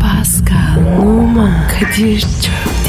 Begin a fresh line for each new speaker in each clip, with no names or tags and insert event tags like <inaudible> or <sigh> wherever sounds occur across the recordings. Pascal, Oman, Kadir çok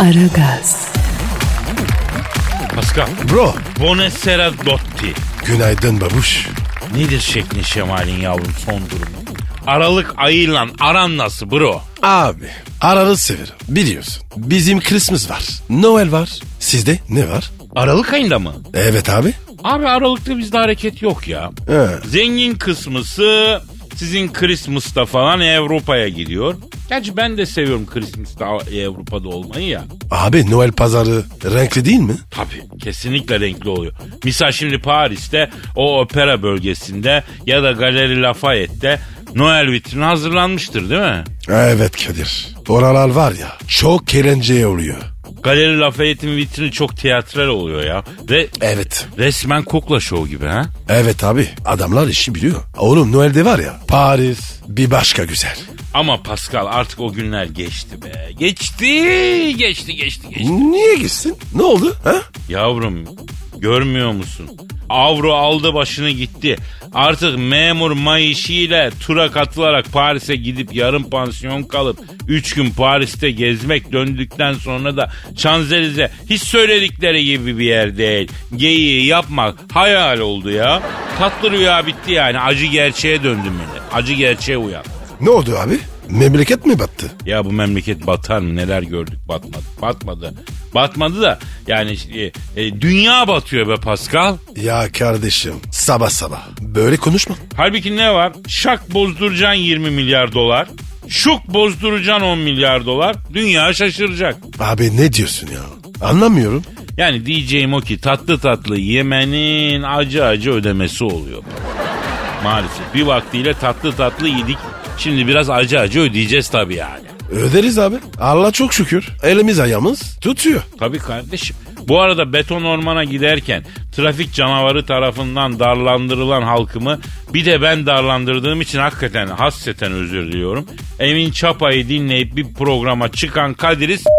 Aragaz,
Pascal.
Bro.
Bonessera Dotti.
Günaydın babuş.
Nedir şeklin şemalin yavrum son durumu? Aralık ayıyla aran nasıl bro?
Abi. Aralık severim. Biliyorsun. Bizim Christmas var. Noel var. Sizde ne var?
Aralık ayında mı?
Evet abi.
Abi Aralık'ta bizde hareket yok ya.
He.
Zengin kısmısı sizin Christmas'ta falan Avrupa'ya gidiyor. Gerçi ben de seviyorum Christmas'ta Avrupa'da olmayı ya.
Abi Noel pazarı renkli değil mi?
Tabii kesinlikle renkli oluyor. Misal şimdi Paris'te o opera bölgesinde ya da Galeri Lafayette'de Noel vitrini hazırlanmıştır değil mi?
Evet Kadir. Oralar var ya çok eğlenceli oluyor.
Galeri Lafayette'in vitrini çok tiyatral oluyor ya. Ve
Evet.
resmen kukla şovu gibi ha.
Evet abi adamlar işi biliyor. Oğlum Noel'de var ya Paris bir başka güzel.
Ama Pascal artık o günler geçti be. Geçti, geçti, geçti, geçti.
Niye gitsin? Ne oldu? Ha?
Yavrum görmüyor musun? Avro aldı başını gitti. Artık memur mayışıyla tura katılarak Paris'e gidip yarım pansiyon kalıp 3 gün Paris'te gezmek döndükten sonra da Şanzelize hiç söyledikleri gibi bir yer değil. Geyiği yapmak hayal oldu ya. Tatlı rüya bitti yani acı gerçeğe döndüm yine. Acı gerçeğe uyan.
Ne oldu abi? Memleket mi battı?
Ya bu memleket batar mı? Neler gördük batmadı. Batmadı. Batmadı da yani e, e, dünya batıyor be Pascal.
Ya kardeşim sabah sabah böyle konuşma.
Halbuki ne var? Şak bozduracaksın 20 milyar dolar. Şuk bozduracaksın 10 milyar dolar. Dünya şaşıracak.
Abi ne diyorsun ya? Anlamıyorum.
Yani diyeceğim o ki tatlı tatlı yemenin acı acı ödemesi oluyor. Maalesef bir vaktiyle tatlı tatlı yedik. Şimdi biraz acı acı ödeyeceğiz tabii yani.
Öderiz abi. Allah çok şükür. Elimiz ayağımız tutuyor.
Tabii kardeşim. Bu arada beton ormana giderken trafik canavarı tarafından darlandırılan halkımı bir de ben darlandırdığım için hakikaten hasreten özür diliyorum. Emin Çapa'yı dinleyip bir programa çıkan Kadir'i s-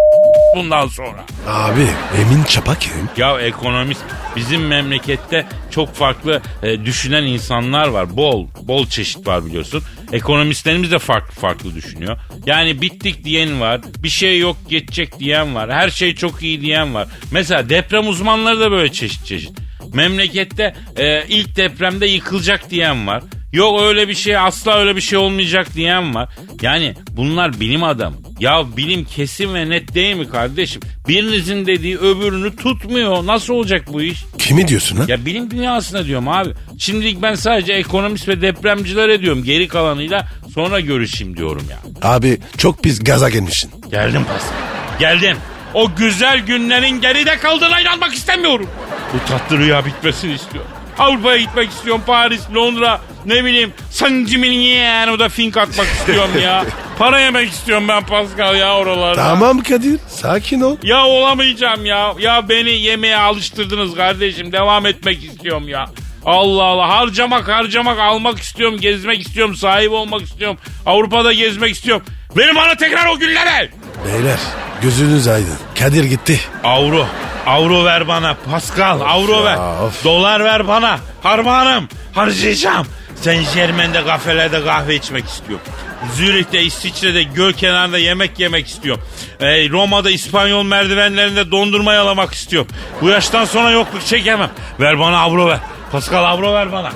bundan sonra.
Abi Emin Çapa kim?
Ya ekonomist bizim memlekette çok farklı e, düşünen insanlar var. Bol bol çeşit var biliyorsun. Ekonomistlerimiz de farklı farklı düşünüyor. Yani bittik diyen var. Bir şey yok geçecek diyen var. Her şey çok iyi diyen var. Mesela deprem uzmanları da böyle çeşit çeşit. Memlekette e, ilk depremde yıkılacak diyen var. Yok öyle bir şey asla öyle bir şey olmayacak diyen var. Yani bunlar bilim adamı. Ya bilim kesin ve net değil mi kardeşim? Birinizin dediği öbürünü tutmuyor. Nasıl olacak bu iş?
Kimi diyorsun lan?
Ya bilim dünyasına diyorum abi. Şimdilik ben sadece ekonomist ve depremcilere diyorum. Geri kalanıyla sonra görüşeyim diyorum ya.
Abi çok pis gaza gelmişsin.
Geldim Pascal. Geldim. O güzel günlerin geride kaldığına inanmak istemiyorum. Bu tatlı rüya bitmesini istiyorum. Avrupa'ya gitmek istiyorum. Paris, Londra, ne bileyim. San Gimignano da fink atmak istiyorum <laughs> ya. Para yemek istiyorum ben Pascal ya oralarda.
Tamam Kadir sakin ol.
Ya olamayacağım ya. Ya beni yemeğe alıştırdınız kardeşim. Devam etmek istiyorum ya. Allah Allah harcamak harcamak almak istiyorum gezmek istiyorum sahip olmak istiyorum Avrupa'da gezmek istiyorum Benim bana tekrar o günlere
Beyler gözünüz aydın. Kadir gitti.
Avro. Avro ver bana Pascal. avro
ya,
ver.
of.
Dolar ver bana. Harmanım. Harcayacağım. Saint Germain'de kafelerde kahve içmek istiyorum. Zürih'te, İsviçre'de, göl kenarında yemek yemek istiyorum. Ee, Roma'da İspanyol merdivenlerinde dondurma yalamak istiyorum. Bu yaştan sonra yokluk çekemem. Ver bana avro ver. Pascal avro ver bana.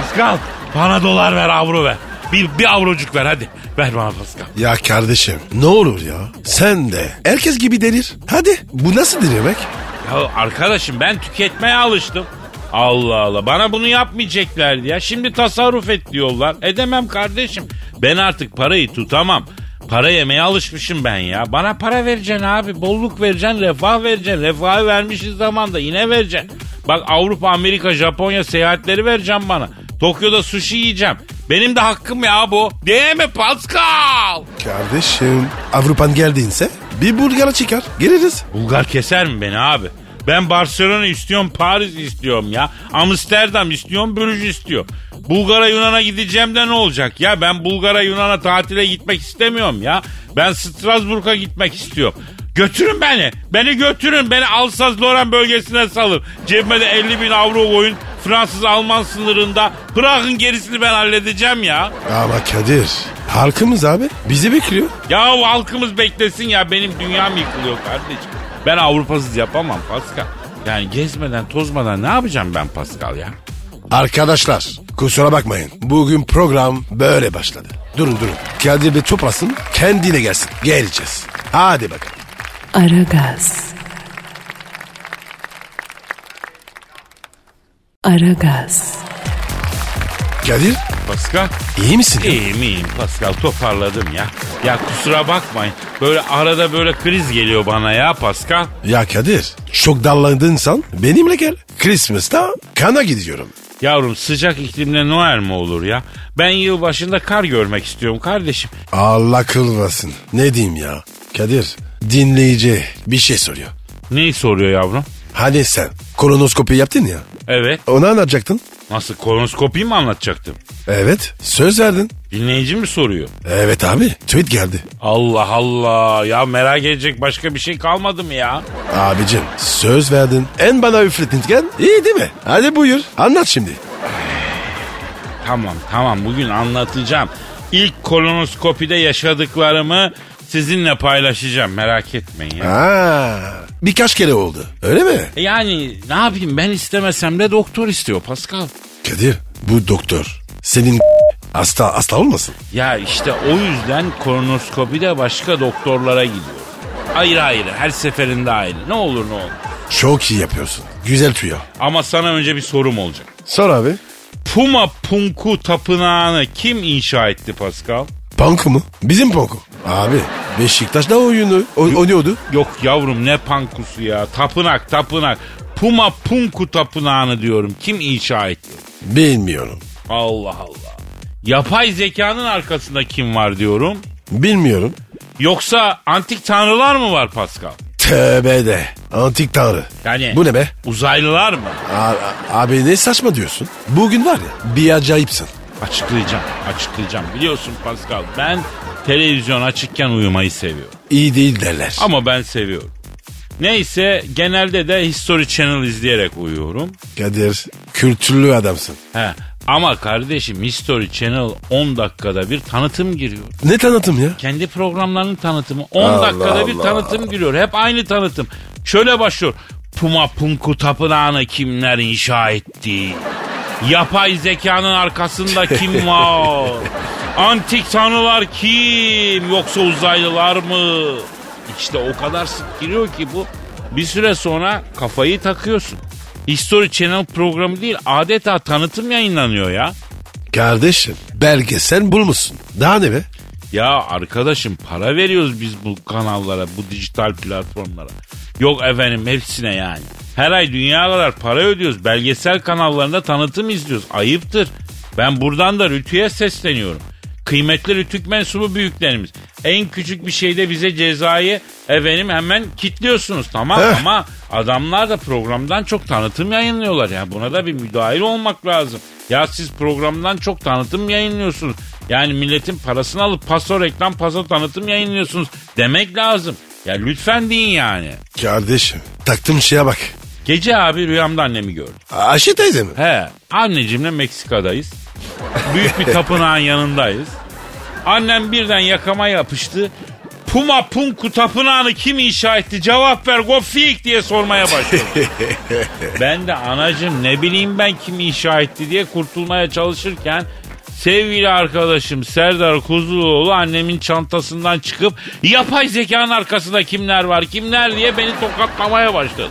Pascal bana dolar ver avro ver. Bir, bir avrocuk ver hadi. Ver bana Pascal.
Ya kardeşim ne olur ya sen de herkes gibi delir. Hadi bu nasıl delirmek?
Ya arkadaşım ben tüketmeye alıştım. Allah Allah bana bunu yapmayacaklardı ya. Şimdi tasarruf et diyorlar. Edemem kardeşim. Ben artık parayı tutamam. Para yemeye alışmışım ben ya. Bana para vereceksin abi. Bolluk vereceksin, refah vereceksin. Refahı vermişiz zamanda yine vereceksin. Bak Avrupa, Amerika, Japonya seyahatleri vereceksin bana. Tokyo'da sushi yiyeceğim. Benim de hakkım ya bu. Değil mi Pascal?
Kardeşim Avrupan geldiğinse bir Bulgar'a çıkar. Geliriz.
Bulgar keser mi beni abi? Ben Barcelona istiyorum, Paris istiyorum ya. Amsterdam istiyorum, Brüj istiyor. Bulgar'a Yunan'a gideceğim de ne olacak ya? Ben Bulgar'a Yunan'a tatile gitmek istemiyorum ya. Ben Strasbourg'a gitmek istiyorum. Götürün beni. Beni götürün. Beni Alsaz-Loren bölgesine salın. Cebime de 50 bin avro koyun. Fransız-Alman sınırında. Prag'ın gerisini ben halledeceğim ya.
Ama Kadir halkımız abi bizi bekliyor.
Ya halkımız beklesin ya benim dünyam yıkılıyor kardeşim. Ben Avrupasız yapamam Pascal. Yani gezmeden tozmadan ne yapacağım ben Pascal ya?
Arkadaşlar kusura bakmayın. Bugün program böyle başladı. Durun durun. Kadir bir toprasın kendine gelsin. Geleceğiz. Hadi bakalım.
Aragaz. Aragaz.
Kadir
Pascal?
iyi misin?
İyiyim iyiyim Pascal toparladım ya. Ya kusura bakmayın. Böyle arada böyle kriz geliyor bana ya Pascal.
Ya Kadir çok dallandınsan benimle gel. Christmas'ta kana gidiyorum.
Yavrum sıcak iklimde Noel mi olur ya? Ben yıl başında kar görmek istiyorum kardeşim.
Allah kılmasın. Ne diyeyim ya? Kadir dinleyici bir şey soruyor.
Neyi soruyor yavrum?
Hani sen kolonoskopi yaptın ya.
Evet.
Ona anlatacaktın.
Nasıl kolonoskopiyi mi anlatacaktım?
Evet söz verdin.
Dinleyici mi soruyor?
Evet abi tweet geldi.
Allah Allah ya merak edecek başka bir şey kalmadı mı ya?
Abicim söz verdin. En bana üfletinken iyi değil mi? Hadi buyur anlat şimdi.
Tamam tamam bugün anlatacağım. İlk kolonoskopide yaşadıklarımı sizinle paylaşacağım merak etmeyin ya.
Aa, birkaç kere oldu öyle mi?
E Yani ne yapayım ben istemesem de doktor istiyor Pascal.
Kadir bu doktor senin <laughs> hasta hasta olmasın?
Ya işte o yüzden kolonoskopide başka doktorlara gidiyor. Ayrı ayrı her seferinde ayrı ne olur ne olur.
Çok iyi yapıyorsun. Güzel tüyo.
Ama sana önce bir sorum olacak.
Sor abi.
Puma Punku Tapınağı'nı kim inşa etti Pascal?
Panku mu? Bizim Panku. Abi Beşiktaş'ta oyunu, o- oynuyordu.
Yok yavrum ne pankusu ya. Tapınak tapınak. Puma Punku Tapınağı'nı diyorum. Kim inşa etti?
Bilmiyorum.
Allah Allah. Yapay zekanın arkasında kim var diyorum.
Bilmiyorum.
Yoksa antik tanrılar mı var Pascal?
Tövbe de. Antik tanrı.
Yani
Bu ne be?
Uzaylılar mı?
A- a- abi ne saçma diyorsun? Bugün var ya bir acayipsin.
Açıklayacağım, açıklayacağım. Biliyorsun Pascal ben televizyon açıkken uyumayı seviyorum.
İyi değil derler.
Ama ben seviyorum. Neyse genelde de History Channel izleyerek uyuyorum.
Kadir kültürlü adamsın.
He. Ama kardeşim History Channel 10 dakikada bir tanıtım giriyor.
Ne tanıtım ya?
Kendi programlarının tanıtımı 10
Allah
dakikada bir
Allah.
tanıtım giriyor. Hep aynı tanıtım. Şöyle başlıyor. Puma Punku Tapınağı'nı kimler inşa etti? Yapay zekanın arkasında
<laughs>
kim var? Antik tanrılar kim? Yoksa uzaylılar mı? İşte o kadar sık giriyor ki bu. Bir süre sonra kafayı takıyorsun. History Channel programı değil adeta tanıtım yayınlanıyor ya.
Kardeşim belgesel bulmuşsun. Daha ne be?
Ya arkadaşım para veriyoruz biz bu kanallara, bu dijital platformlara. Yok efendim hepsine yani. Her ay dünya kadar para ödüyoruz. Belgesel kanallarında tanıtım izliyoruz. Ayıptır. Ben buradan da Rütü'ye sesleniyorum. Kıymetli Rütük mensubu büyüklerimiz. En küçük bir şeyde bize cezayı efendim hemen kitliyorsunuz tamam
Heh.
ama adamlar da programdan çok tanıtım yayınlıyorlar ya. Buna da bir müdahil olmak lazım. Ya siz programdan çok tanıtım yayınlıyorsunuz. Yani milletin parasını alıp paso reklam paso tanıtım yayınlıyorsunuz demek lazım. Ya lütfen deyin yani.
Kardeşim taktım şeye bak.
Gece abi rüyamda annemi gördüm.
Ayşe teyze mi?
He. Annecimle Meksika'dayız. Büyük bir tapınağın yanındayız. Annem birden yakama yapıştı. Puma Punku tapınağını kim inşa etti? Cevap ver Gofik diye sormaya başladı. ben de anacım ne bileyim ben kim inşa etti diye kurtulmaya çalışırken sevgili arkadaşım Serdar Kuzuloğlu annemin çantasından çıkıp yapay zekanın arkasında kimler var kimler diye beni tokatlamaya başladı.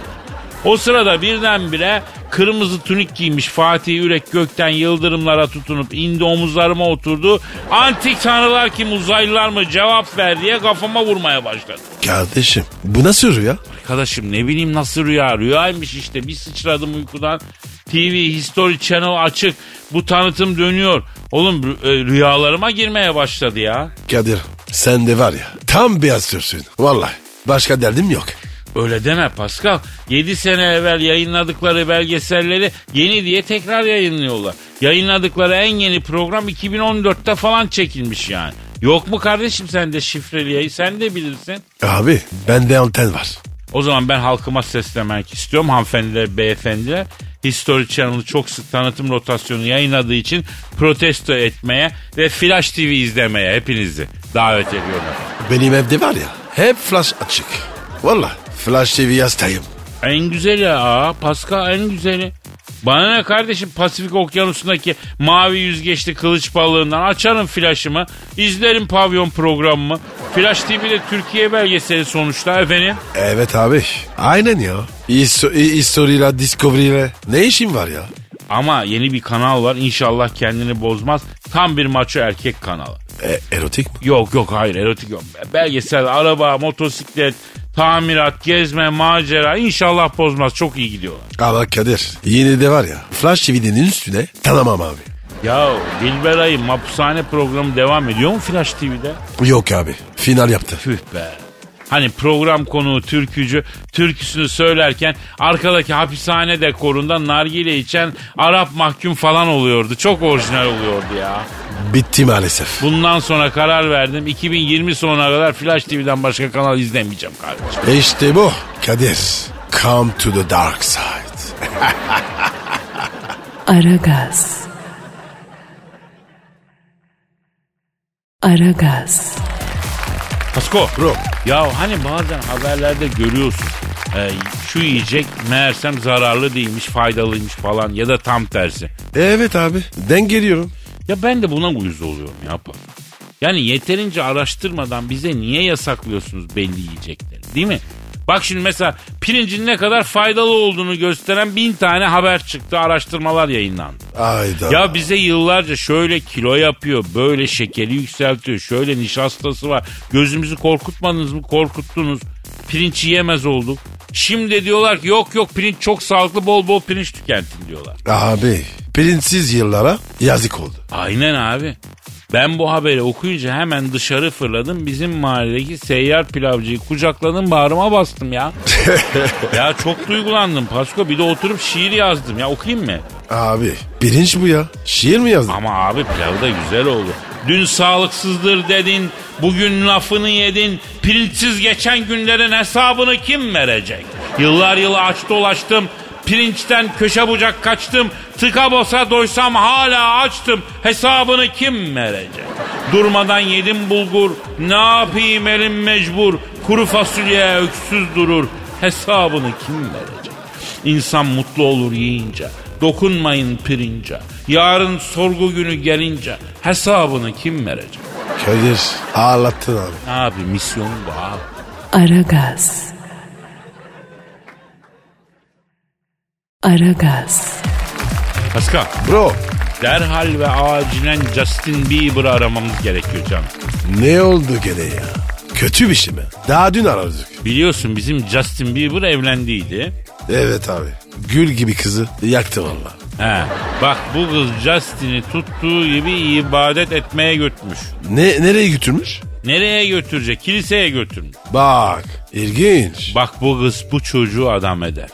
O sırada birdenbire kırmızı tunik giymiş Fatih Yürek gökten yıldırımlara tutunup indi omuzlarıma oturdu. Antik tanrılar kim uzaylılar mı cevap ver diye kafama vurmaya başladı.
Kardeşim bu nasıl ya?
Arkadaşım ne bileyim nasıl rüya rüyaymış işte bir sıçradım uykudan. TV, History Channel açık. Bu tanıtım dönüyor. Oğlum rü- e, rüyalarıma girmeye başladı ya.
Kadir sen de var ya tam beyaz sürsün. Vallahi başka derdim yok.
Öyle deme Pascal. 7 sene evvel yayınladıkları belgeselleri yeni diye tekrar yayınlıyorlar. Yayınladıkları en yeni program 2014'te falan çekilmiş yani. Yok mu kardeşim sende şifreli yayı sen de bilirsin.
Abi bende anten var.
O zaman ben halkıma seslenmek istiyorum hanımefendiler, beyefendiler. History Channel'ı çok sık tanıtım rotasyonu yayınladığı için protesto etmeye ve Flash TV izlemeye hepinizi davet ediyorum.
Benim evde var ya hep flash açık. Vallahi flash TV yastayım.
En güzeli aa Pascal en güzeli. Bana ne kardeşim Pasifik Okyanusu'ndaki mavi yüzgeçli kılıç balığından açarım flaşımı, izlerim pavyon programımı. Flash TV'de Türkiye belgeseli sonuçta efendim.
Evet abi. Aynen ya. Histo- hi- History'le, Discovery'le ne işin var ya?
Ama yeni bir kanal var inşallah kendini bozmaz. Tam bir maço erkek kanalı.
E, erotik mi?
Yok yok hayır erotik yok. Belgesel, araba, motosiklet, tamirat, gezme, macera inşallah bozmaz. Çok iyi gidiyorlar.
Ama Kadir yine de var ya Flash TV'nin üstüne tanımam abi.
Ya Dilberay'ın Mapushane programı devam ediyor mu Flash TV'de?
Yok abi final yaptı.
Tüh be. Hani program konuğu türkücü türküsünü söylerken arkadaki hapishane dekorunda nargile içen Arap mahkum falan oluyordu. Çok orijinal oluyordu ya.
Bitti maalesef.
Bundan sonra karar verdim. 2020 sonuna kadar Flash TV'den başka kanal izlemeyeceğim kardeşim.
E İşte bu Kadir. Come to the dark side.
Aragaz. Aragaz.
Pasko.
Bro.
Ya hani bazen haberlerde görüyorsun. e, şu yiyecek meğersem zararlı değilmiş, faydalıymış falan ya da tam tersi.
Evet abi ben geliyorum.
Ya ben de buna uyuz oluyorum ya. Papa. Yani yeterince araştırmadan bize niye yasaklıyorsunuz belli yiyecekleri değil mi? Bak şimdi mesela pirincin ne kadar faydalı olduğunu gösteren bin tane haber çıktı, araştırmalar yayınlandı.
Ayda.
Ya bize yıllarca şöyle kilo yapıyor, böyle şekeri yükseltiyor, şöyle nişastası var. Gözümüzü korkutmadınız mı? Korkuttunuz. Pirinç yiyemez olduk. Şimdi diyorlar ki yok yok pirinç çok sağlıklı bol bol pirinç tüketin diyorlar.
Abi prinsiz yıllara yazık oldu.
Aynen abi. Ben bu haberi okuyunca hemen dışarı fırladım. Bizim mahalledeki seyyar pilavcıyı kucakladım bağrıma bastım ya. ya çok duygulandım Pasko. Bir de oturup şiir yazdım ya okuyayım mı?
Abi pirinç bu ya. Şiir mi yazdın?
Ama abi pilav da güzel oldu. Dün sağlıksızdır dedin, bugün lafını yedin. Pirinçsiz geçen günlerin hesabını kim verecek? Yıllar yılı aç dolaştım, pirinçten köşe bucak kaçtım. Tıka bosa doysam hala açtım, hesabını kim verecek? Durmadan yedim bulgur, ne yapayım elim mecbur. Kuru fasulye öksüz durur, hesabını kim verecek? İnsan mutlu olur yiyince. Dokunmayın pirince. Yarın sorgu günü gelince hesabını kim verecek?
Kadir ağlattın abi.
Abi misyon bu abi.
Aragaz. Aragaz.
Pascal,
Bro
derhal ve acilen Justin Bieber'ı aramamız gerekiyor canım.
ne oldu gene ya? Kötü bir şey mi? Daha dün aradık.
Biliyorsun bizim Justin Bieber evlendiydi.
Evet abi. Gül gibi kızı yaktı valla.
He, bak bu kız Justin'i tuttuğu gibi ibadet etmeye götürmüş.
Ne, nereye götürmüş?
Nereye götürecek? Kiliseye götürmüş.
Bak ilginç.
Bak bu kız bu çocuğu adam eder.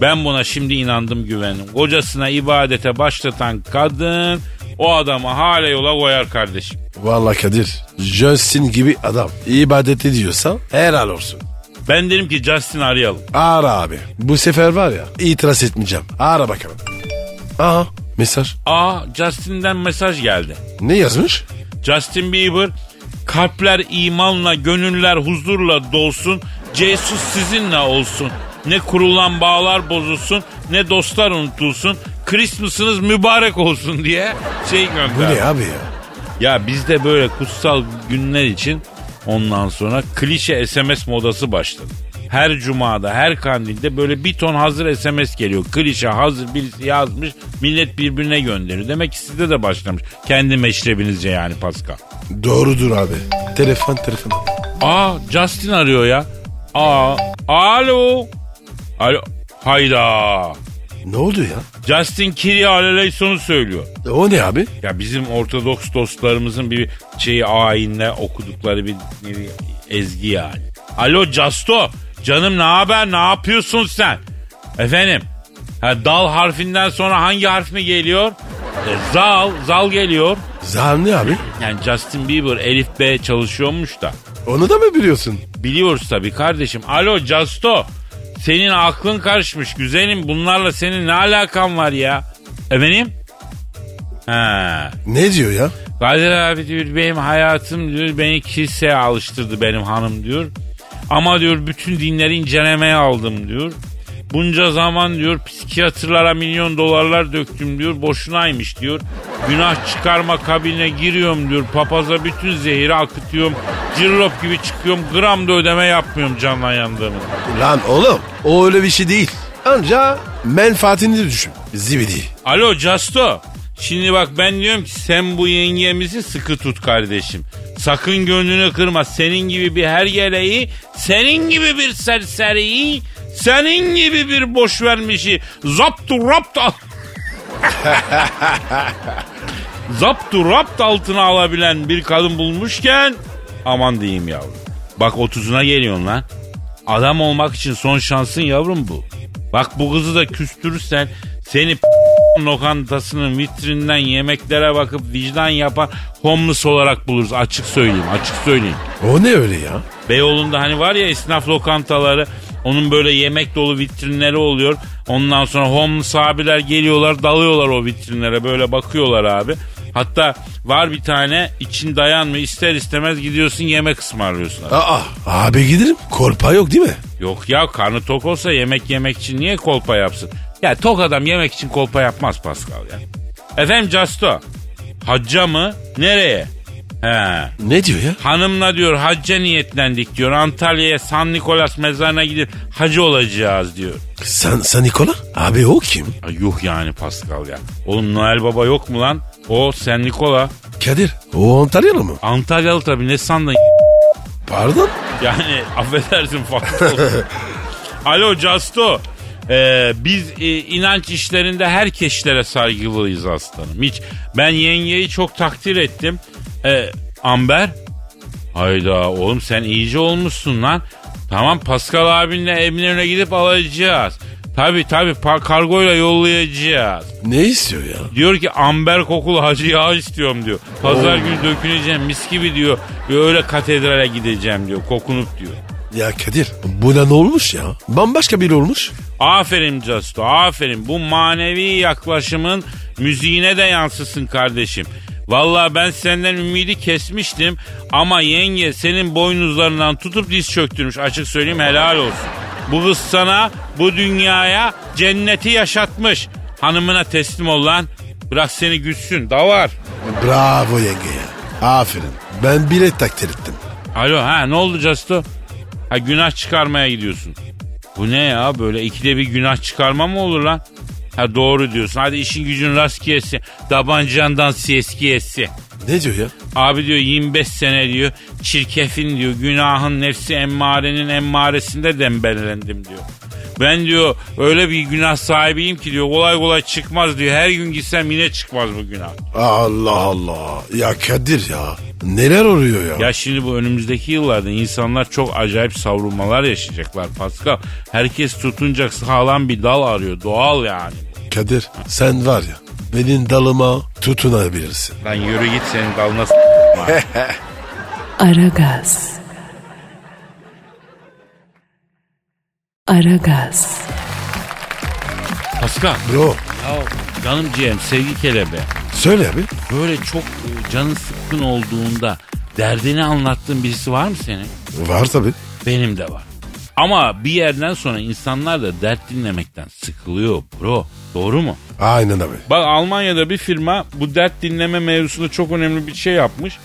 Ben buna şimdi inandım güvendim. Kocasına ibadete başlatan kadın o adamı hala yola koyar kardeşim.
Valla Kadir Justin gibi adam ibadet ediyorsa helal olsun.
Ben derim ki Justin arayalım.
Ara abi. Bu sefer var ya itiraz etmeyeceğim. Ara bakalım. Aa mesaj.
Aa Justin'den mesaj geldi.
Ne yazmış?
Justin Bieber kalpler imanla gönüller huzurla dolsun. Jesus sizinle olsun. Ne kurulan bağlar bozulsun ne dostlar unutulsun. Christmas'ınız mübarek olsun diye şey gönderdi.
Bu ne abi ya?
Ya bizde böyle kutsal günler için ondan sonra klişe SMS modası başladı. Her cumada, her kandilde böyle bir ton hazır SMS geliyor. Klişe hazır birisi yazmış, millet birbirine gönderiyor. Demek ki sizde de başlamış. Kendi meşrebinizce yani Pascal.
Doğrudur abi. Telefon telefon.
Aa, Justin arıyor ya. Aa, alo. Alo, hayda.
Ne oldu ya?
Justin Kiri aleleyson'u söylüyor.
E, O ne abi?
Ya bizim Ortodoks dostlarımızın bir şeyi ayinle okudukları bir nevi ezgi yani. Alo Casto canım ne haber ne yapıyorsun sen? Efendim ha, dal harfinden sonra hangi harf mi geliyor? E, zal, zal geliyor.
Zahar ne abi?
Yani Justin Bieber Elif B çalışıyormuş da.
Onu da mı biliyorsun?
Biliyoruz tabii kardeşim. Alo Casto. Senin aklın karışmış güzelim. Bunlarla senin ne alakan var ya? Efendim? Ha.
Ne diyor ya?
Kadir abi diyor benim hayatım diyor beni kiliseye alıştırdı benim hanım diyor. Ama diyor bütün dinleri incelemeye aldım diyor. Bunca zaman diyor psikiyatrlara milyon dolarlar döktüm diyor boşunaymış diyor. Günah çıkarma kabine giriyorum diyor papaza bütün zehri akıtıyorum. Cirlop gibi çıkıyorum gram da ödeme yapmıyorum canla yandığımı.
Lan oğlum o öyle bir şey değil. Anca menfaatini düşün. Zibidi.
Alo Casto. Şimdi bak ben diyorum ki sen bu yengemizi sıkı tut kardeşim. Sakın gönlünü kırma. Senin gibi bir her geleği, senin gibi bir serseriyi, senin gibi bir boş vermişi. Zaptu rapt al- Zaptu rapt altına alabilen bir kadın bulmuşken aman diyeyim yavrum. Bak otuzuna geliyorsun lan. Adam olmak için son şansın yavrum bu. Bak bu kızı da küstürürsen seni p- lokantasının vitrinden yemeklere bakıp vicdan yapan homeless olarak buluruz. Açık söyleyeyim açık söyleyeyim.
O ne öyle ya?
Beyoğlu'nda hani var ya esnaf lokantaları onun böyle yemek dolu vitrinleri oluyor. Ondan sonra homeless abiler geliyorlar dalıyorlar o vitrinlere böyle bakıyorlar abi. Hatta var bir tane için dayanmıyor ister istemez gidiyorsun yemek ısmarlıyorsun. abi.
Aa abi giderim. Kolpa yok değil mi?
Yok ya karnı tok olsa yemek yemek için niye kolpa yapsın? Ya tok adam yemek için kolpa yapmaz Pascal ya. Efendim Casto hacca mı nereye? He.
Ne diyor ya?
Hanımla diyor hacca niyetlendik diyor. Antalya'ya San Nikolas mezarına gidip hacı olacağız diyor.
Sen, sen Nikola? Abi o kim?
Ay yuh yani Pascal ya. Oğlum Noel Baba yok mu lan? O Sen Nikola.
Kadir. O Antalyalı mı?
Antalyalı tabii ne sandın?
Pardon?
Yani <laughs> affedersin Fakir. Alo Casto. Ee, biz e, inanç işlerinde herkeslere saygılıyız aslanım. Hiç ben yengeyi çok takdir ettim. Ee, Amber. Hayda oğlum sen iyice olmuşsun lan. Tamam Pascal abinle Eminönü'ne gidip alacağız. Tabi tabi kargoyla yollayacağız.
Ne istiyor ya?
Diyor ki amber kokulu hacı yağ istiyorum diyor. Pazar günü döküleceğim mis gibi diyor. Ve öyle katedrale gideceğim diyor kokunup diyor.
Ya Kadir bu ne olmuş ya? Bambaşka biri olmuş.
Aferin Casto, aferin. Bu manevi yaklaşımın müziğine de yansısın kardeşim. Vallahi ben senden ümidi kesmiştim ama yenge senin boynuzlarından tutup diz çöktürmüş. Açık söyleyeyim helal olsun. Bu kız sana bu dünyaya cenneti yaşatmış. Hanımına teslim ol lan. Bırak seni güçsün. Da var.
Bravo yenge ya. Aferin. Ben bile takdir ettim.
Alo ha ne oldu Casto? Ha günah çıkarmaya gidiyorsun. Bu ne ya böyle ikide bir günah çıkarma mı olur lan? Ha doğru diyorsun. Hadi işin gücün rast giyesi. Dabancandan siyes giyesi.
Ne diyor ya?
Abi diyor 25 sene diyor çirkefin diyor günahın nefsi emmarenin emmaresinde dembelendim diyor. Ben diyor öyle bir günah sahibiyim ki diyor kolay kolay çıkmaz diyor. Her gün gitsem yine çıkmaz bu günah.
Allah Allah. Ya Kadir ya. Neler oluyor ya?
Ya şimdi bu önümüzdeki yıllarda insanlar çok acayip savrulmalar yaşayacaklar Pascal. Herkes tutunacak sağlam bir dal arıyor. Doğal yani.
Kadir sen var ya. Benim dalıma tutunabilirsin.
Lan yürü git senin dalına s- var.
Aragaz. Aragaz.
Pascal.
Bro
Ya canım ciğerim sevgi kelebe.
söyle abi.
Böyle çok e, canın sıkkın olduğunda derdini anlattığın birisi var mı senin?
Var tabi.
Benim de var. Ama bir yerden sonra insanlar da dert dinlemekten sıkılıyor bro. Doğru mu?
Aynen abi.
Bak Almanya'da bir firma bu dert dinleme mevzusunda çok önemli bir şey yapmış.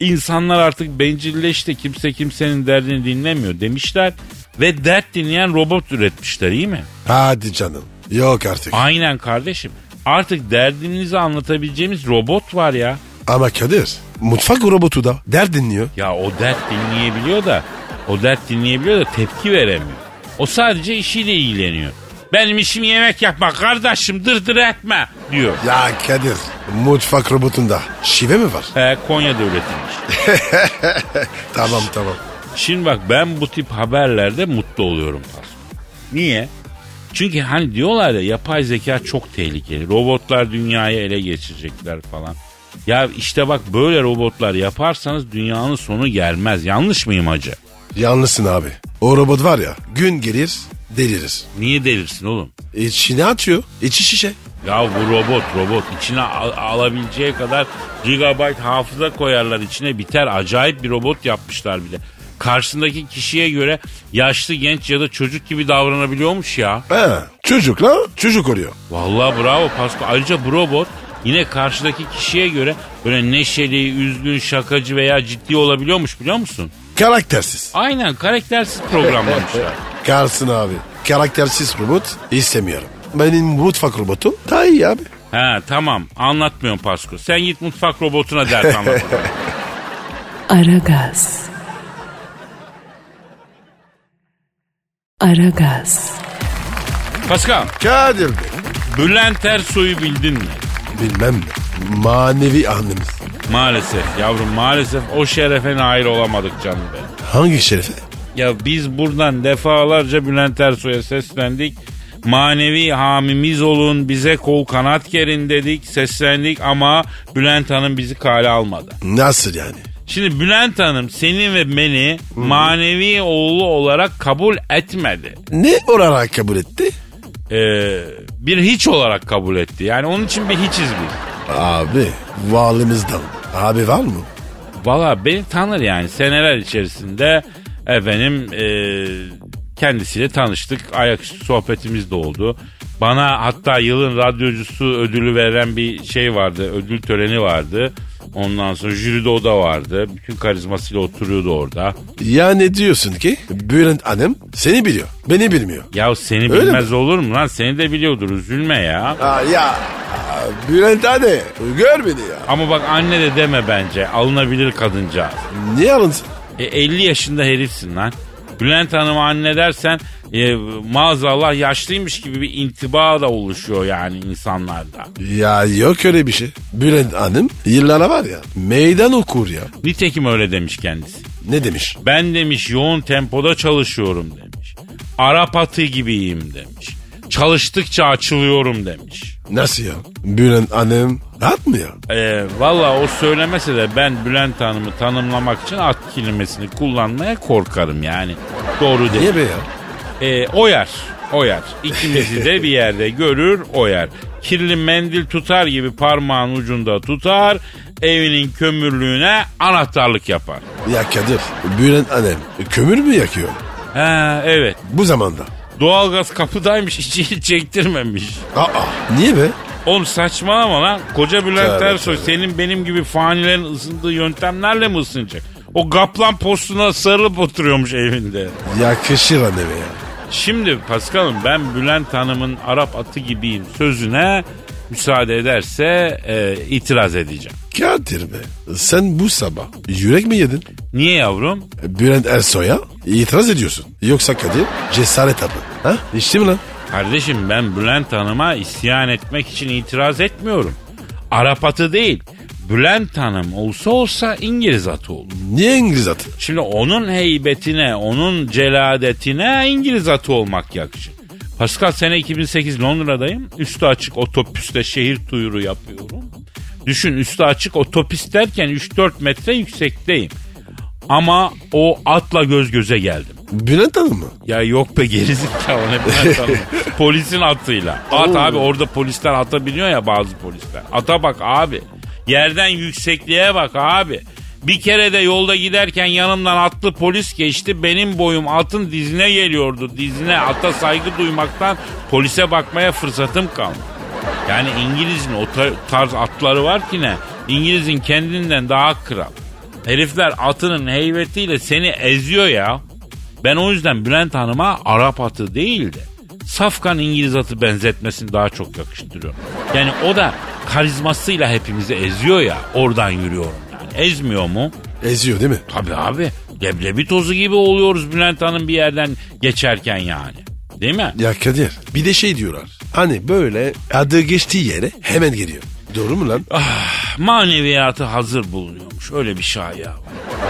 İnsanlar artık bencilleşti kimse kimsenin derdini dinlemiyor demişler. Ve dert dinleyen robot üretmişler iyi mi?
Hadi canım. Yok artık.
Aynen kardeşim. Artık derdinizi anlatabileceğimiz robot var ya.
Ama Kadir mutfak robotu da der dinliyor.
Ya o dert dinleyebiliyor da o dert dinleyebiliyor da tepki veremiyor. O sadece işiyle ilgileniyor. Benim işim yemek yapmak kardeşim dırdır etme diyor.
Ya Kadir mutfak robotunda şive mi var?
He, Ee, Konya'da üretilmiş.
tamam tamam.
Şimdi bak ben bu tip haberlerde mutlu oluyorum. Pascal. Niye? Çünkü hani diyorlar ya yapay zeka çok tehlikeli. Robotlar dünyayı ele geçirecekler falan. Ya işte bak böyle robotlar yaparsanız dünyanın sonu gelmez. Yanlış mıyım hacı?
Yanlısın abi. O robot var ya gün gelir delirir.
Niye delirsin oğlum?
İçine atıyor. İçi şişe.
Ya bu robot robot içine al- alabileceği kadar gigabyte hafıza koyarlar içine biter. Acayip bir robot yapmışlar bir de. Karşısındaki kişiye göre yaşlı genç ya da çocuk gibi davranabiliyormuş ya.
He, çocukla çocuk oluyor.
Vallahi bravo Pasko. Ayrıca bu robot yine karşıdaki kişiye göre böyle neşeli, üzgün, şakacı veya ciddi olabiliyormuş biliyor musun?
Karaktersiz.
Aynen karaktersiz programlamışlar.
Kalsın abi. Karaktersiz robot istemiyorum. Benim mutfak robotum daha iyi abi.
He tamam anlatmıyorum Pasko. Sen git mutfak robotuna dert anlat.
Aragaz. Aragaz.
Pascal,
Kadir Bey.
Bülent Ersoy'u bildin mi?
Bilmem ne. Manevi annemiz.
Maalesef yavrum maalesef o şerefe nail olamadık canım benim.
Hangi şerefe?
Ya biz buradan defalarca Bülent Ersoy'a seslendik. Manevi hamimiz olun bize kol kanat gerin dedik seslendik ama Bülent Hanım bizi kale almadı.
Nasıl yani?
Şimdi Bülent Hanım seni ve beni manevi oğlu olarak kabul etmedi.
Ne olarak kabul etti?
Ee, bir hiç olarak kabul etti. Yani onun için bir hiçiz biz.
Abi valimizden. Abi var mı?
Valla beni tanır yani seneler içerisinde efendim e, kendisiyle tanıştık. Ayaküstü sohbetimiz de oldu. Bana hatta yılın radyocusu ödülü veren bir şey vardı. Ödül töreni vardı. Ondan sonra jüride o da vardı. Bütün karizmasıyla oturuyordu orada.
Ya ne diyorsun ki? Bülent annem seni biliyor. Beni bilmiyor.
Ya seni
Öyle
bilmez olur mu lan? Seni de biliyordur üzülme ya.
Aa, ya Bülent anne gör beni ya.
Ama bak anne de deme bence. Alınabilir kadıncağız.
Niye alınsın?
E, 50 yaşında herifsin lan. Bülent Hanım'a anne dersen e, maazallah yaşlıymış gibi bir intiba da oluşuyor yani insanlarda.
Ya yok öyle bir şey. Bülent hanım yıllara var ya meydan okur ya.
Nitekim öyle demiş kendisi.
Ne demiş?
Ben demiş yoğun tempoda çalışıyorum demiş. Arap atı gibiyim demiş. Çalıştıkça açılıyorum demiş.
Nasıl ya? Bülent hanım rahat mı ya?
E, Valla o söylemese de ben Bülent Hanım'ı tanımlamak için at kelimesini kullanmaya korkarım yani. Doğru değil.
Niye be ya?
E, oyar. Oyar. İkimizi de bir yerde görür oyar. Kirli mendil tutar gibi parmağın ucunda tutar. Evinin kömürlüğüne anahtarlık yapar.
Ya Kadir Bülent annem kömür mü yakıyor?
Ha evet.
Bu zamanda.
Doğalgaz kapıdaymış içi çektirmemiş.
Aa niye be?
Oğlum saçmalama lan. Koca Bülent
Tövbe,
Ersoy
tövbe.
senin benim gibi fanilerin ısındığı yöntemlerle mi ısınacak? O gaplan postuna sarılıp oturuyormuş evinde.
Yakışır anneme ya.
Şimdi Paskal'ım ben Bülent Hanım'ın Arap atı gibiyim sözüne müsaade ederse e, itiraz edeceğim.
Kadir be sen bu sabah yürek mi yedin?
Niye yavrum?
Bülent Ersoy'a itiraz ediyorsun. Yoksa Kadir cesaret adı. Ha? İçti mi lan?
Kardeşim ben Bülent Hanım'a isyan etmek için itiraz etmiyorum. Arap atı değil. Bülent Hanım olsa olsa İngiliz atı olur.
Niye İngiliz atı?
Şimdi onun heybetine, onun celadetine İngiliz atı olmak yakışır. Pascal sene 2008 Londra'dayım. Üstü açık otopüste şehir tuyuru yapıyorum. Düşün üstü açık otopüs derken 3-4 metre yüksekteyim. Ama o atla göz göze geldim.
Bülent Hanım mı?
Ya yok be gerizekalı ne ben sana. Polisin atıyla. At abi orada polisler ata biniyor ya bazı polisler. Ata bak abi. Yerden yüksekliğe bak abi. Bir kere de yolda giderken yanımdan atlı polis geçti. Benim boyum atın dizine geliyordu. Dizine ata saygı duymaktan polise bakmaya fırsatım kalmadı. Yani İngiliz'in o tar- tarz atları var ki ne? İngiliz'in kendinden daha kral. Herifler atının heybetiyle seni eziyor ya. Ben o yüzden Bülent Hanım'a Arap atı değil de Safkan İngiliz atı benzetmesini daha çok yakıştırıyorum. Yani o da karizmasıyla hepimizi eziyor ya oradan yürüyorum yani. Ezmiyor mu?
Eziyor değil mi?
Tabii abi. Leblebi tozu gibi oluyoruz Bülent Hanım bir yerden geçerken yani. Değil mi?
Ya Kadir bir de şey diyorlar. Hani böyle adı geçtiği yere hemen geliyor. Doğru mu lan?
Maneviyatı hazır bulunuyormuş. Öyle bir şey şaya var.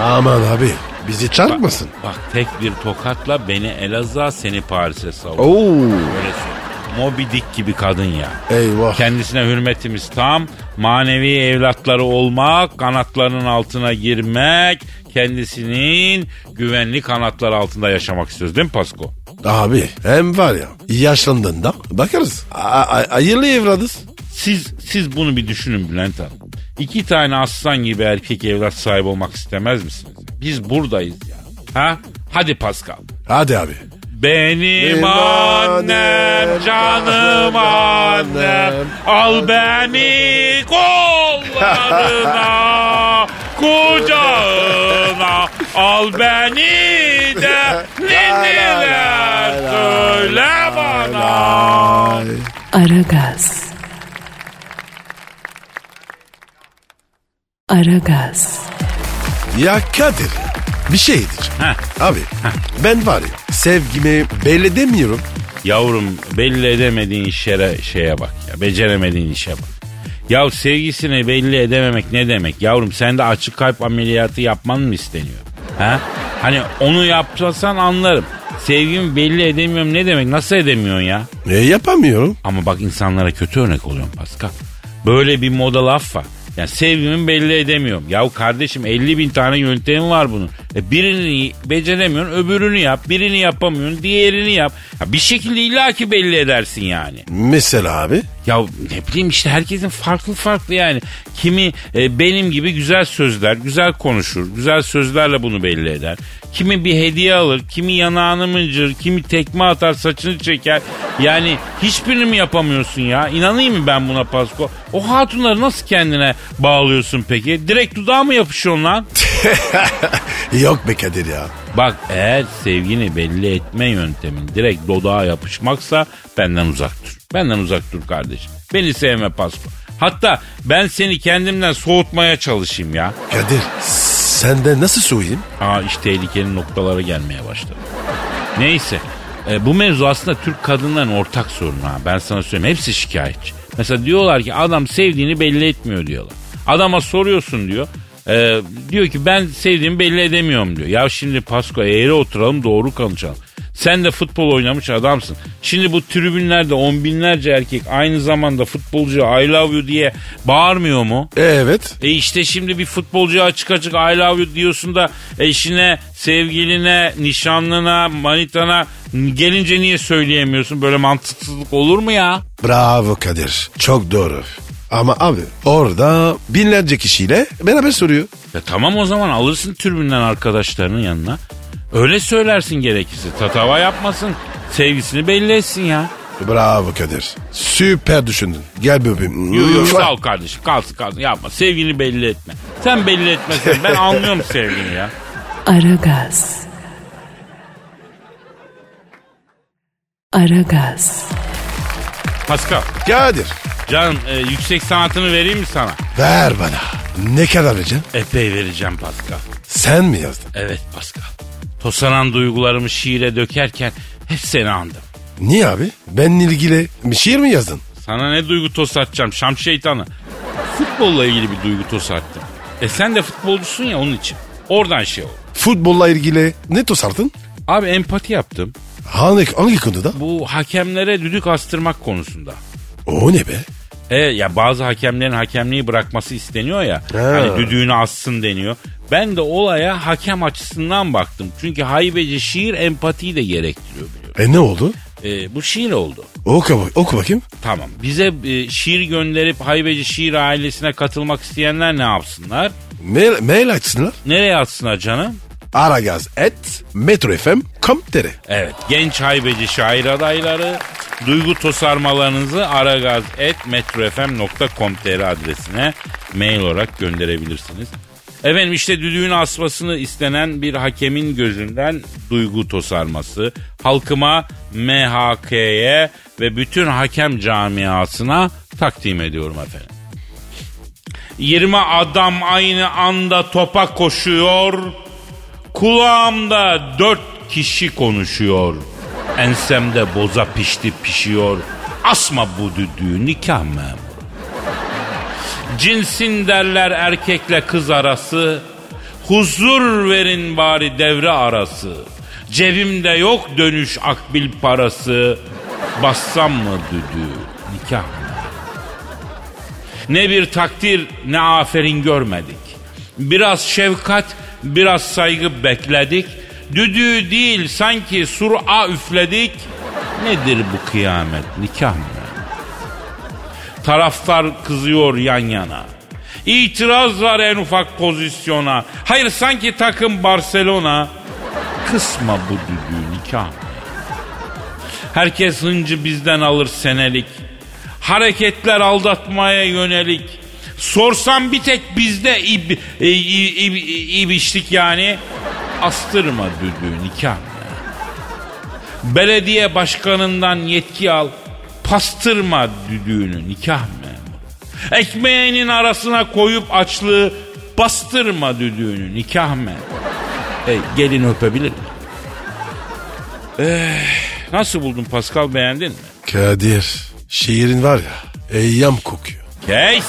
Aman abi bizi çarpmasın.
Bak tek bir tokatla beni Elazığ'a seni Paris'e savur.
Oo.
Öyle söyleyeyim. Moby Dick gibi kadın ya.
Eyvah.
Kendisine hürmetimiz tam. Manevi evlatları olmak, kanatlarının altına girmek, kendisinin güvenli kanatları altında yaşamak istiyoruz değil mi Pasko?
Abi hem var ya yaşlandığında bakarız. A- a- hayırlı evladız.
Siz siz bunu bir düşünün Bülent Hanım. İki tane aslan gibi erkek evlat sahibi olmak istemez misiniz? Biz buradayız ya. Ha? Hadi Pascal.
Hadi abi.
Benim annem canım annem Al beni <laughs> kollarına kucağına Al beni de ninniler söyle bana
Aragaz. Aragaz.
Ya Kadir bir şey diyeceğim.
Heh.
Abi ben var ya sevgimi belli demiyorum.
Yavrum belli edemediğin şere, şeye bak ya. Beceremediğin işe bak. Ya sevgisini belli edememek ne demek? Yavrum sen de açık kalp ameliyatı yapman mı isteniyor? Ha? Hani onu yaptırsan anlarım. Sevgimi belli edemiyorum ne demek? Nasıl edemiyorsun ya?
E, yapamıyorum.
Ama bak insanlara kötü örnek oluyorum Pascal. Böyle bir moda laf var. Yani sevgimi belli edemiyorum. Yahu kardeşim 50 bin tane yöntemi var bunun. E birini beceremiyorsun öbürünü yap. Birini yapamıyorsun diğerini yap. Ya bir şekilde illaki belli edersin yani.
Mesela abi. <laughs>
Ya ne bileyim işte herkesin farklı farklı yani. Kimi e, benim gibi güzel sözler, güzel konuşur, güzel sözlerle bunu belli eder. Kimi bir hediye alır, kimi yanağını mıncır, kimi tekme atar, saçını çeker. Yani hiçbirini mi yapamıyorsun ya? İnanayım mı ben buna Pasko? O hatunları nasıl kendine bağlıyorsun peki? Direkt dudağa mı yapışıyorsun lan?
Yok be Kadir ya.
Bak eğer sevgini belli etme yöntemin direkt dodağa yapışmaksa benden uzak dur. Benden uzak dur kardeşim. Beni sevme Pasko. Hatta ben seni kendimden soğutmaya çalışayım ya.
Kadir senden nasıl soğuyayım?
Aa işte tehlikeli noktalara gelmeye başladı. Neyse. e, bu mevzu aslında Türk kadınların ortak sorunu ha. Ben sana söyleyeyim. Hepsi şikayetçi. Mesela diyorlar ki adam sevdiğini belli etmiyor diyorlar. Adama soruyorsun diyor. E, diyor ki ben sevdiğimi belli edemiyorum diyor. Ya şimdi Pasko eğri oturalım doğru konuşalım. Sen de futbol oynamış adamsın. Şimdi bu tribünlerde on binlerce erkek aynı zamanda futbolcuya I love you diye bağırmıyor mu?
Evet.
E işte şimdi bir futbolcuya açık açık I love you diyorsun da eşine, sevgiline, nişanlına, manitana gelince niye söyleyemiyorsun? Böyle mantıksızlık olur mu ya?
Bravo Kadir. Çok doğru. Ama abi orada binlerce kişiyle beraber soruyor.
Ya E tamam o zaman alırsın türbünden arkadaşlarının yanına. Öyle söylersin gerekirse. Tatava yapmasın. Sevgisini belli etsin ya.
Bravo Kadir. Süper düşündün. Gel bebeğim.
Yok yok sağ ol kardeşim. Kalsın kalsın yapma. Sevgini belli etme. Sen belli etmezsen ben anlıyorum sevgini ya.
Aragaz. Aragaz.
Pascal
Kadir
canım e, yüksek sanatını vereyim mi sana?
ver bana. Ne kadar vereceksin?
Epey vereceğim Pascal.
Sen mi yazdın?
Evet Pascal. Tosaran duygularımı şiire dökerken hep seni andım.
Niye abi? Benimle ilgili bir şiir mi yazdın?
Sana ne duygu tosatacağım şam şeytanı. Futbolla ilgili bir duygu tosattım. E sen de futbolcusun ya onun için. Oradan şey oldu.
Futbolla ilgili ne tosardın?
Abi empati yaptım.
Hangi, hangi konuda?
Bu hakemlere düdük astırmak konusunda.
O ne be?
E ya bazı hakemlerin hakemliği bırakması isteniyor ya.
Ha.
Hani düdüğünü assın deniyor. Ben de olaya hakem açısından baktım. Çünkü haybeci şiir empatiyi de gerektiriyor biliyorum.
E ne oldu?
E, bu şiir oldu.
Oku, bak- oku bakayım.
Tamam. Bize e, şiir gönderip Haybeci Şiir ailesine katılmak isteyenler ne yapsınlar?
Mail, mail açsınlar.
Nereye atsınlar canım?
Aragaz et metrofm.com.tr
Evet. Genç Haybeci şair adayları duygu tosarmalarınızı aragaz.metrofm.com.tr adresine mail olarak gönderebilirsiniz. Efendim işte düdüğün asmasını istenen bir hakemin gözünden duygu tosarması. Halkıma, MHK'ye ve bütün hakem camiasına takdim ediyorum efendim. 20 adam aynı anda topa koşuyor. Kulağımda 4 kişi konuşuyor. Ensemde boza pişti pişiyor. Asma bu düdüğü nikah memuru. Cinsin derler erkekle kız arası. Huzur verin bari devre arası. Cebimde yok dönüş akbil parası. Bassam mı düdüğü nikah memuru. Ne bir takdir ne aferin görmedik. Biraz şefkat, biraz saygı bekledik. Düdüğü değil sanki sur'a üfledik. Nedir bu kıyamet nikah mı? Taraftar kızıyor yan yana. İtiraz var en ufak pozisyona. Hayır sanki takım Barcelona. Kısma bu düdüğü nikah mı? Herkes hıncı bizden alır senelik. Hareketler aldatmaya yönelik. Sorsam bir tek bizde ib, e, i- i- i- ibişlik yani. Astırma düdüğü nikah. Belediye başkanından yetki al. Pastırma düdüğünü nikah memuru. Ekmeğinin arasına koyup açlığı bastırma düdüğünü nikah memuru. E, gelin öpebilir mi? Eh, nasıl buldun Pascal beğendin mi?
Kadir şiirin var ya eyyam kokuyor.
Kes.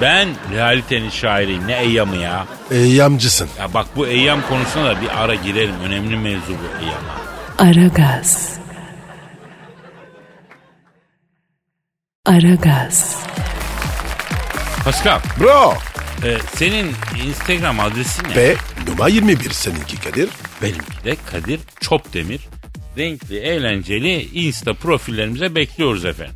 Ben realitenin şairiyim. Ne eyyamı ya?
Eyyamcısın.
Ya bak bu eyyam konusuna da bir ara girelim. Önemli mevzu bu eyyama.
Aragaz. Aragaz.
Pascal,
Bro.
e, senin Instagram adresin ne?
Ve numara 21 seninki Kadir.
Benimki de Kadir Çopdemir. Renkli, eğlenceli Insta profillerimize bekliyoruz efendim.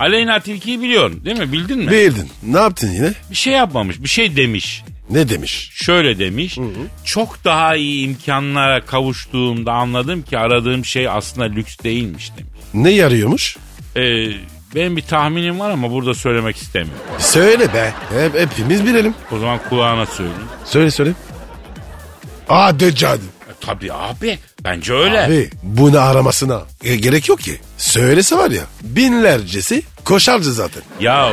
Aleyna Tilki'yi biliyorsun değil mi? Bildin mi?
Bildin. Ne yaptın yine?
bir şey yapmamış, bir şey demiş.
Ne demiş?
şöyle demiş. Çok daha iyi imkanlara kavuştuğumda anladım ki aradığım şey aslında lüks değilmiş demiş.
Ne yarıyormuş?
Ee, benim bir tahminim var ama burada söylemek istemiyorum.
Söyle be. Hep, hepimiz bilelim.
O zaman kulağına söyleyeyim.
Söyle söyle. Aa Deccal.
E, tabii abi bence öyle.
Abi bunu aramasına e, gerek yok ki. Söylese var ya binlercesi koşarcı zaten.
Ya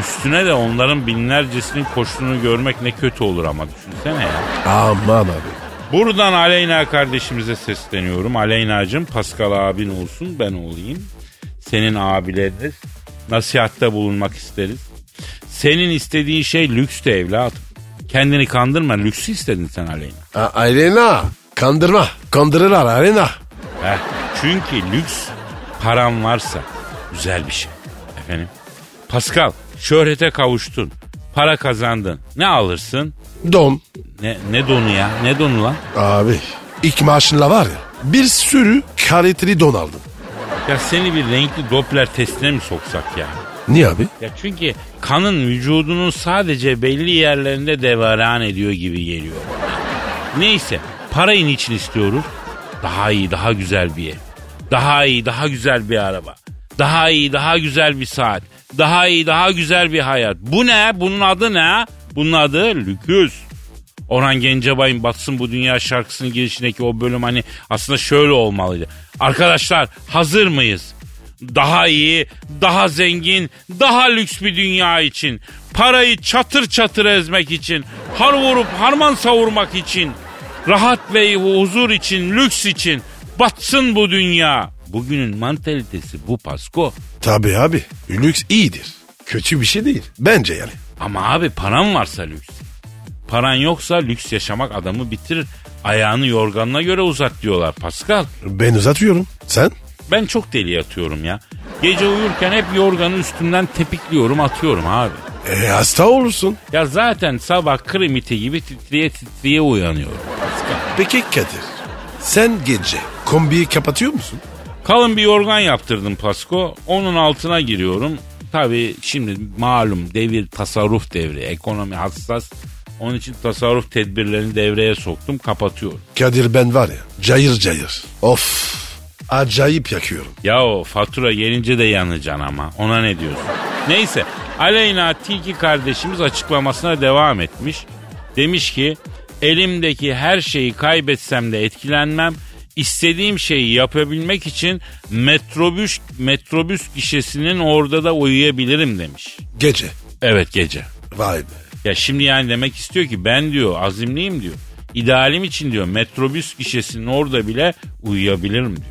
üstüne de onların binlercesinin koştuğunu görmek ne kötü olur ama düşünsene ya.
Aman abi.
Buradan Aleyna kardeşimize sesleniyorum. Aleyna'cığım Pascal abin olsun ben olayım. Senin abileriz. Nasihatte bulunmak isteriz. Senin istediğin şey lükstü evladım. Kendini kandırma lüksü istedin sen Aleyna.
A- Arena kandırma. Kandırırlar Arena.
Heh, Çünkü lüks paran varsa güzel bir şey. Efendim? Pascal şöhrete kavuştun. Para kazandın. Ne alırsın?
Don.
Ne, ne donu ya? Ne donu lan?
Abi ilk maaşınla var ya bir sürü kaliteli don aldın.
Ya seni bir renkli Doppler testine mi soksak ya?
Niye abi?
Ya çünkü kanın vücudunun sadece belli yerlerinde devran ediyor gibi geliyor. Neyse parayı niçin istiyoruz? Daha iyi daha güzel bir ev. Daha iyi daha güzel bir araba. Daha iyi daha güzel bir saat. Daha iyi daha güzel bir hayat. Bu ne? Bunun adı ne? Bunun adı lüküs. Orhan Gencebay'ın Batsın Bu Dünya şarkısının girişindeki o bölüm hani aslında şöyle olmalıydı. Arkadaşlar hazır mıyız? Daha iyi, daha zengin, daha lüks bir dünya için. Parayı çatır çatır ezmek için. Har vurup harman savurmak için. Rahat ve huzur için, lüks için. Batsın bu dünya. Bugünün mantalitesi bu Pasko.
Tabii abi lüks iyidir. Kötü bir şey değil. Bence yani.
Ama abi paran varsa lüks. Paran yoksa lüks yaşamak adamı bitirir. Ayağını yorganına göre uzat diyorlar Pascal.
Ben uzatıyorum. Sen?
Ben çok deli yatıyorum ya. Gece uyurken hep yorganı üstümden tepikliyorum atıyorum abi.
E, hasta olursun.
Ya zaten sabah krim iti gibi titriye titriye uyanıyorum.
Peki Kadir sen gece kombiyi kapatıyor musun?
Kalın bir yorgan yaptırdım Pasko. Onun altına giriyorum. Tabii şimdi malum devir tasarruf devri. Ekonomi hassas. Onun için tasarruf tedbirlerini devreye soktum. Kapatıyorum.
Kadir ben var ya cayır cayır. Of acayip yakıyorum.
Ya o fatura gelince de yanacaksın ama. Ona ne diyorsun? Neyse Aleyna Tilki kardeşimiz açıklamasına devam etmiş. Demiş ki elimdeki her şeyi kaybetsem de etkilenmem. İstediğim şeyi yapabilmek için metrobüs metrobüs gişesinin orada da uyuyabilirim demiş.
Gece.
Evet gece.
Vay be.
Ya şimdi yani demek istiyor ki ben diyor azimliyim diyor. İdealim için diyor metrobüs gişesinin orada bile uyuyabilirim diyor.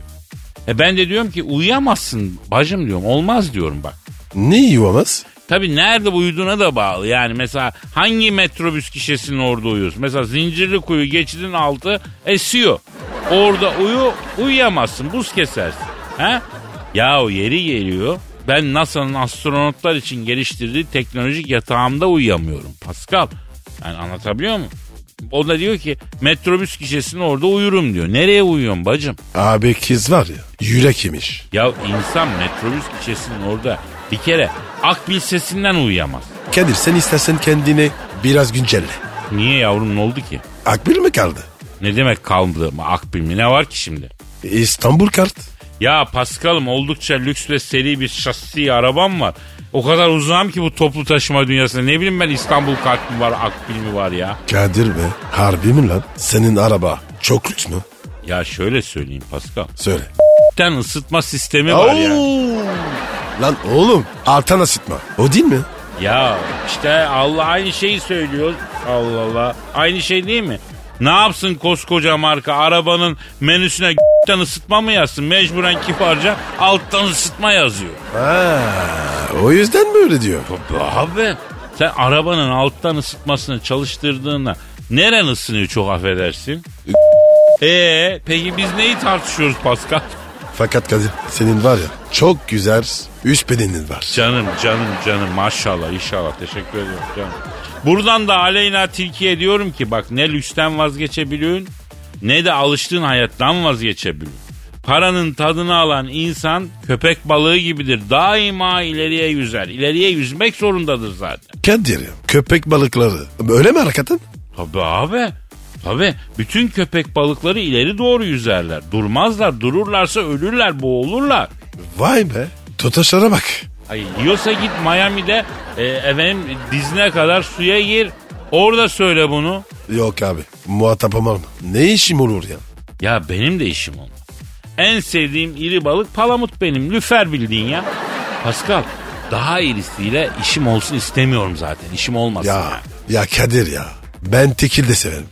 E ben de diyorum ki uyuyamazsın bacım diyorum. Olmaz diyorum bak.
Ne yuvamız?
Tabii nerede uyuduğuna da bağlı. Yani mesela hangi metrobüs kişisinin orada uyuyorsun? Mesela zincirli kuyu geçidin altı esiyor. Orada uyu uyuyamazsın. Buz kesersin. He? Ya yeri geliyor. Ben NASA'nın astronotlar için geliştirdiği teknolojik yatağımda uyuyamıyorum. Pascal. Yani anlatabiliyor muyum? O da diyor ki metrobüs kişisinin orada uyurum diyor. Nereye uyuyorum bacım?
Abi kız var ya yürek yemiş.
Ya insan metrobüs kişisinin orada bir kere akbil sesinden uyuyamaz.
Kadir sen istersen kendini biraz güncelle.
Niye yavrum ne oldu ki?
Akbil mi kaldı?
Ne demek kaldı mı akbil mi ne var ki şimdi?
İstanbul kart.
Ya Paskal'ım oldukça lüks ve seri bir şasi arabam var. O kadar uzağım ki bu toplu taşıma dünyasına. Ne bileyim ben İstanbul kart mı var, akbil mi var ya?
Kadir be harbi mi lan? Senin araba çok lüks mü?
Ya şöyle söyleyeyim Paskal.
Söyle.
Ten ısıtma sistemi var ya.
Lan oğlum altan asitma. O değil mi?
Ya işte Allah aynı şeyi söylüyor. Allah Allah. Aynı şey değil mi? Ne yapsın koskoca marka arabanın menüsüne <laughs> g***ten ısıtma mı yazsın? Mecburen kibarca alttan ısıtma yazıyor.
O yüzden mi öyle diyor?
Tabii abi. Sen arabanın alttan ısıtmasını çalıştırdığında neren ısınıyor çok affedersin? Ee, peki biz neyi tartışıyoruz Pascal?
Fakat Kadir senin var ya çok güzel üst bedenin var.
Canım canım canım maşallah inşallah teşekkür ediyorum canım. Buradan da aleyna tilkiye diyorum ki bak ne lüksten vazgeçebiliyorsun ne de alıştığın hayattan vazgeçebiliyorsun. Paranın tadını alan insan köpek balığı gibidir. Daima ileriye yüzer. İleriye yüzmek zorundadır zaten.
Kadir köpek balıkları öyle mi hareketin?
Tabii abi. Tabii bütün köpek balıkları ileri doğru yüzerler. Durmazlar, dururlarsa ölürler, boğulurlar.
Vay be totaşlara bak.
Ay yiyorsa git Miami'de e, efendim dizine kadar suya gir. Orada söyle bunu.
Yok abi muhatap olmam. Ne işim olur ya?
Ya benim de işim olmaz. En sevdiğim iri balık palamut benim. Lüfer bildiğin ya. Pascal daha irisiyle işim olsun istemiyorum zaten. İşim olmasın. yani.
Ya ya Kadir ya ben tekil de severim.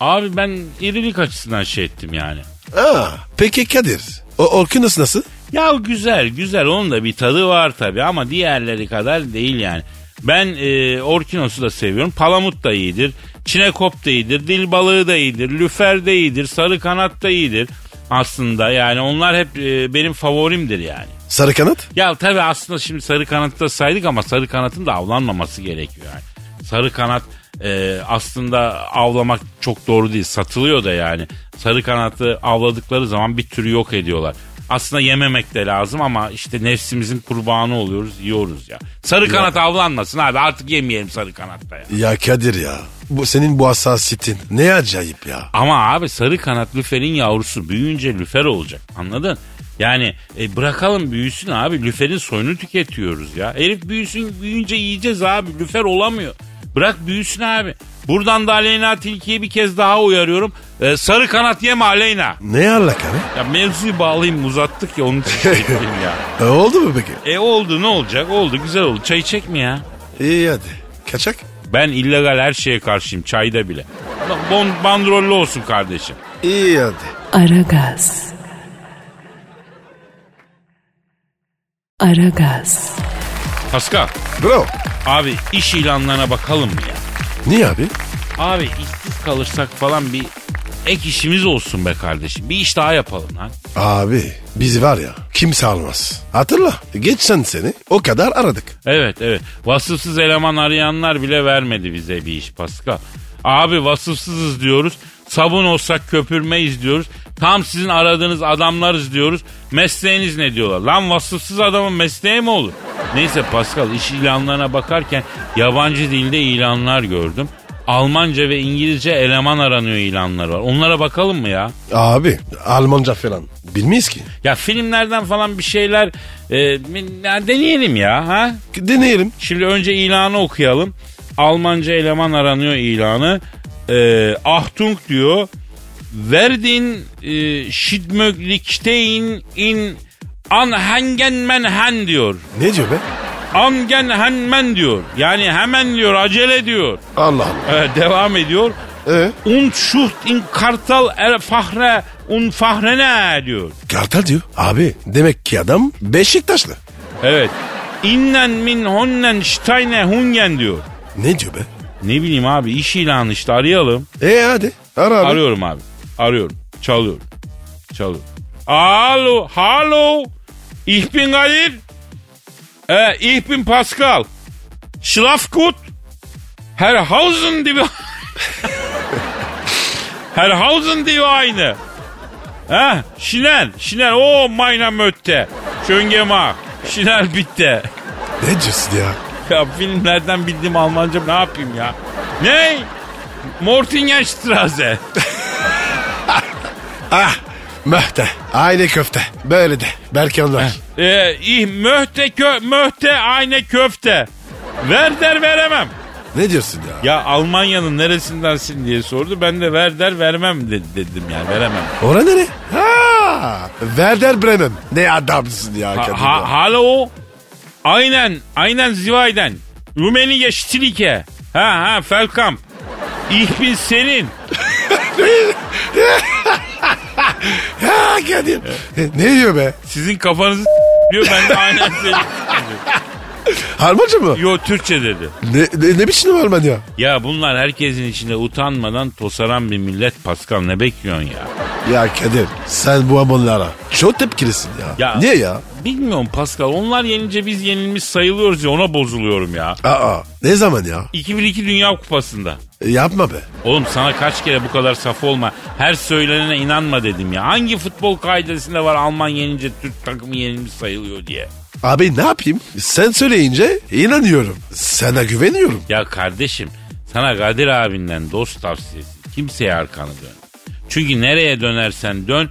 Abi ben irilik açısından şey ettim yani.
Aa, peki Kadir o Orkunas nasıl?
Ya güzel güzel onun da bir tadı var tabii ama diğerleri kadar değil yani. Ben e, orkinos'u da seviyorum. Palamut da iyidir. Çinekop da iyidir. Dil balığı da iyidir. Lüfer de iyidir. Sarı kanat da iyidir. Aslında yani onlar hep e, benim favorimdir yani.
Sarı kanat?
Ya tabii aslında şimdi sarı kanatı da saydık ama sarı kanatın da avlanmaması gerekiyor yani. Sarı kanat e, aslında avlamak çok doğru değil. Satılıyor da yani. Sarı kanatı avladıkları zaman bir türü yok ediyorlar. Aslında yememek de lazım ama işte nefsimizin kurbanı oluyoruz, yiyoruz ya. Sarı kanat avlanmasın abi artık yemeyelim sarı kanatta ya.
Ya Kadir ya bu senin bu hassasiyetin ne acayip ya.
Ama abi sarı kanat lüferin yavrusu büyüyünce lüfer olacak anladın? Yani e, bırakalım büyüsün abi lüferin soyunu tüketiyoruz ya. Herif büyüsün büyüyünce yiyeceğiz abi lüfer olamıyor. Bırak büyüsün abi. Buradan da Aleyna Tilki'yi bir kez daha uyarıyorum. E, sarı kanat yeme Aleyna.
Ne alaka be?
Ya mevzuyu bağlayayım uzattık ya onun için şey ettim ya.
E, oldu mu peki?
E oldu ne olacak oldu güzel oldu. Çay içecek mi ya?
İyi hadi. Kaçak?
Ben illegal her şeye karşıyım çayda bile. Bon, bandrollü olsun kardeşim.
İyi hadi.
Aragaz. Aragaz.
Pascal.
Bro.
Abi iş ilanlarına bakalım mı ya?
Niye abi?
Abi işsiz kalırsak falan bir ek işimiz olsun be kardeşim. Bir iş daha yapalım lan.
Abi biz var ya kimse almaz. Hatırla geçen seni o kadar aradık.
Evet evet. Vasıfsız eleman arayanlar bile vermedi bize bir iş Pascal. Abi vasıfsızız diyoruz. Sabun olsak köpürmeyiz diyoruz. Tam sizin aradığınız adamlarız diyoruz. Mesleğiniz ne diyorlar? Lan vasıfsız adamın mesleği mi olur? Neyse Pascal iş ilanlarına bakarken yabancı dilde ilanlar gördüm. Almanca ve İngilizce eleman aranıyor ilanlar var. Onlara bakalım mı ya?
Abi Almanca falan bilmeyiz ki.
Ya filmlerden falan bir şeyler e, ya deneyelim ya ha.
Deneyelim.
Şimdi önce ilanı okuyalım. Almanca eleman aranıyor ilanı. E, Achtung diyor. Verdin e, Schiedmöglichkeiten in Anhengenmenhen diyor.
Ne diyor be?
Angenhenmen diyor. Yani hemen diyor acele diyor.
Allah Allah.
E, devam ediyor.
Ee?
Un şuht in kartal er fahre un fahrene diyor.
Kartal diyor. Abi demek ki adam Beşiktaşlı.
Evet. İnnen min honnen steine hungen diyor.
Ne diyor be?
Ne bileyim abi iş ilanı işte arayalım.
E hadi. Ara abi.
Arıyorum abi. Arıyorum. Çalıyorum. Çalıyorum. Alo. Halo. Ich bin Kadir. Ee, ich bin Pascal. Schlaf gut. Herhausen dibi. <laughs> Herhausen dibi aynı. Ha, Şinel, Şinel, o mayna mötte. Çönge ma, Şinel bitti. <laughs>
Ne diyorsun ya?
Ya filmlerden bildiğim Almanca ne yapayım ya? Ne? Mortingenstrasse.
Ah möhte. Aile köfte. Böyle de. Belki anlar.
Ee, ih möhte kö möhte aynı köfte. Ver der veremem.
ne diyorsun ya?
Ya Almanya'nın neresindensin diye sordu. Ben de ver der vermem de- dedim yani veremem.
Ora nere? Ha, Werder Bremen. Ne adamsın ya.
Ha,
kadın ya.
ha, halo. Aynen aynen Zivay'den. Rumeliye Ştilike. Ha ha Felkamp. Ich bin senin.
Ha, Kadir. E, ne diyor be?
Sizin kafanızı diyor ben de aynen senin. <laughs>
Harmancı mı?
Yo Türkçe dedi.
Ne, ne, ne biçim Alman ya?
Ya bunlar herkesin içinde utanmadan tosaran bir millet Pascal ne bekliyorsun ya?
Ya Kadir sen bu abonlara çok tepkilisin ya.
Ya-
Niye ya?
Bilmiyorum Pascal onlar yenilince biz yenilmiş sayılıyoruz ya ona bozuluyorum ya.
Aa ne zaman ya?
2002 Dünya Kupası'nda.
E, yapma be.
Oğlum sana kaç kere bu kadar saf olma. Her söylenene inanma dedim ya. Hangi futbol kaidesinde var Alman yenince Türk takımı yenilmiş sayılıyor diye.
Abi ne yapayım? Sen söyleyince inanıyorum. Sana güveniyorum.
Ya kardeşim sana Kadir abinden dost tavsiyesi. Kimseye arkanı dön. Çünkü nereye dönersen dön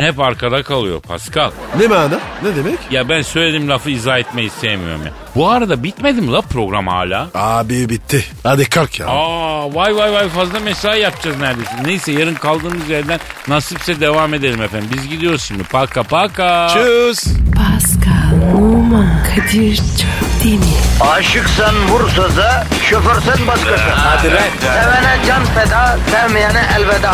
hep arkada kalıyor Pascal.
Ne mana? Ne demek?
Ya ben söylediğim lafı izah etmeyi sevmiyorum ya. Bu arada bitmedi mi la program hala?
Abi bitti. Hadi kalk ya.
Aa vay vay vay fazla mesai yapacağız neredeyse. Neyse yarın kaldığımız yerden nasipse devam edelim efendim. Biz gidiyoruz şimdi. Paka paka.
Tschüss.
Pascal, Oman, Kadir çok değil mi?
Aşıksan vursa da, şoförsen başkasın. Hadi Sevene can feda, sevmeyene elveda.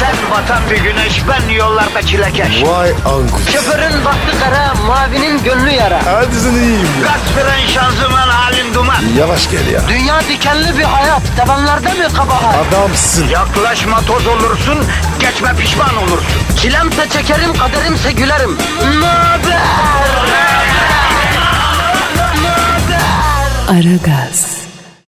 Sen batan bir güneş, ben yollarda çilekeş.
Vay anku.
Şoförün baktı kara, mavinin gönlü yara.
Hadi sen iyiyim ya.
Kasperen şanzıman halin duman.
Yavaş gel ya.
Dünya dikenli bir hayat, sevenlerde mi kabahar?
Adamsın.
Yaklaşma toz olursun, geçme pişman olursun. Çilemse çekerim, kaderimse gülerim. Möber!
Aragaz.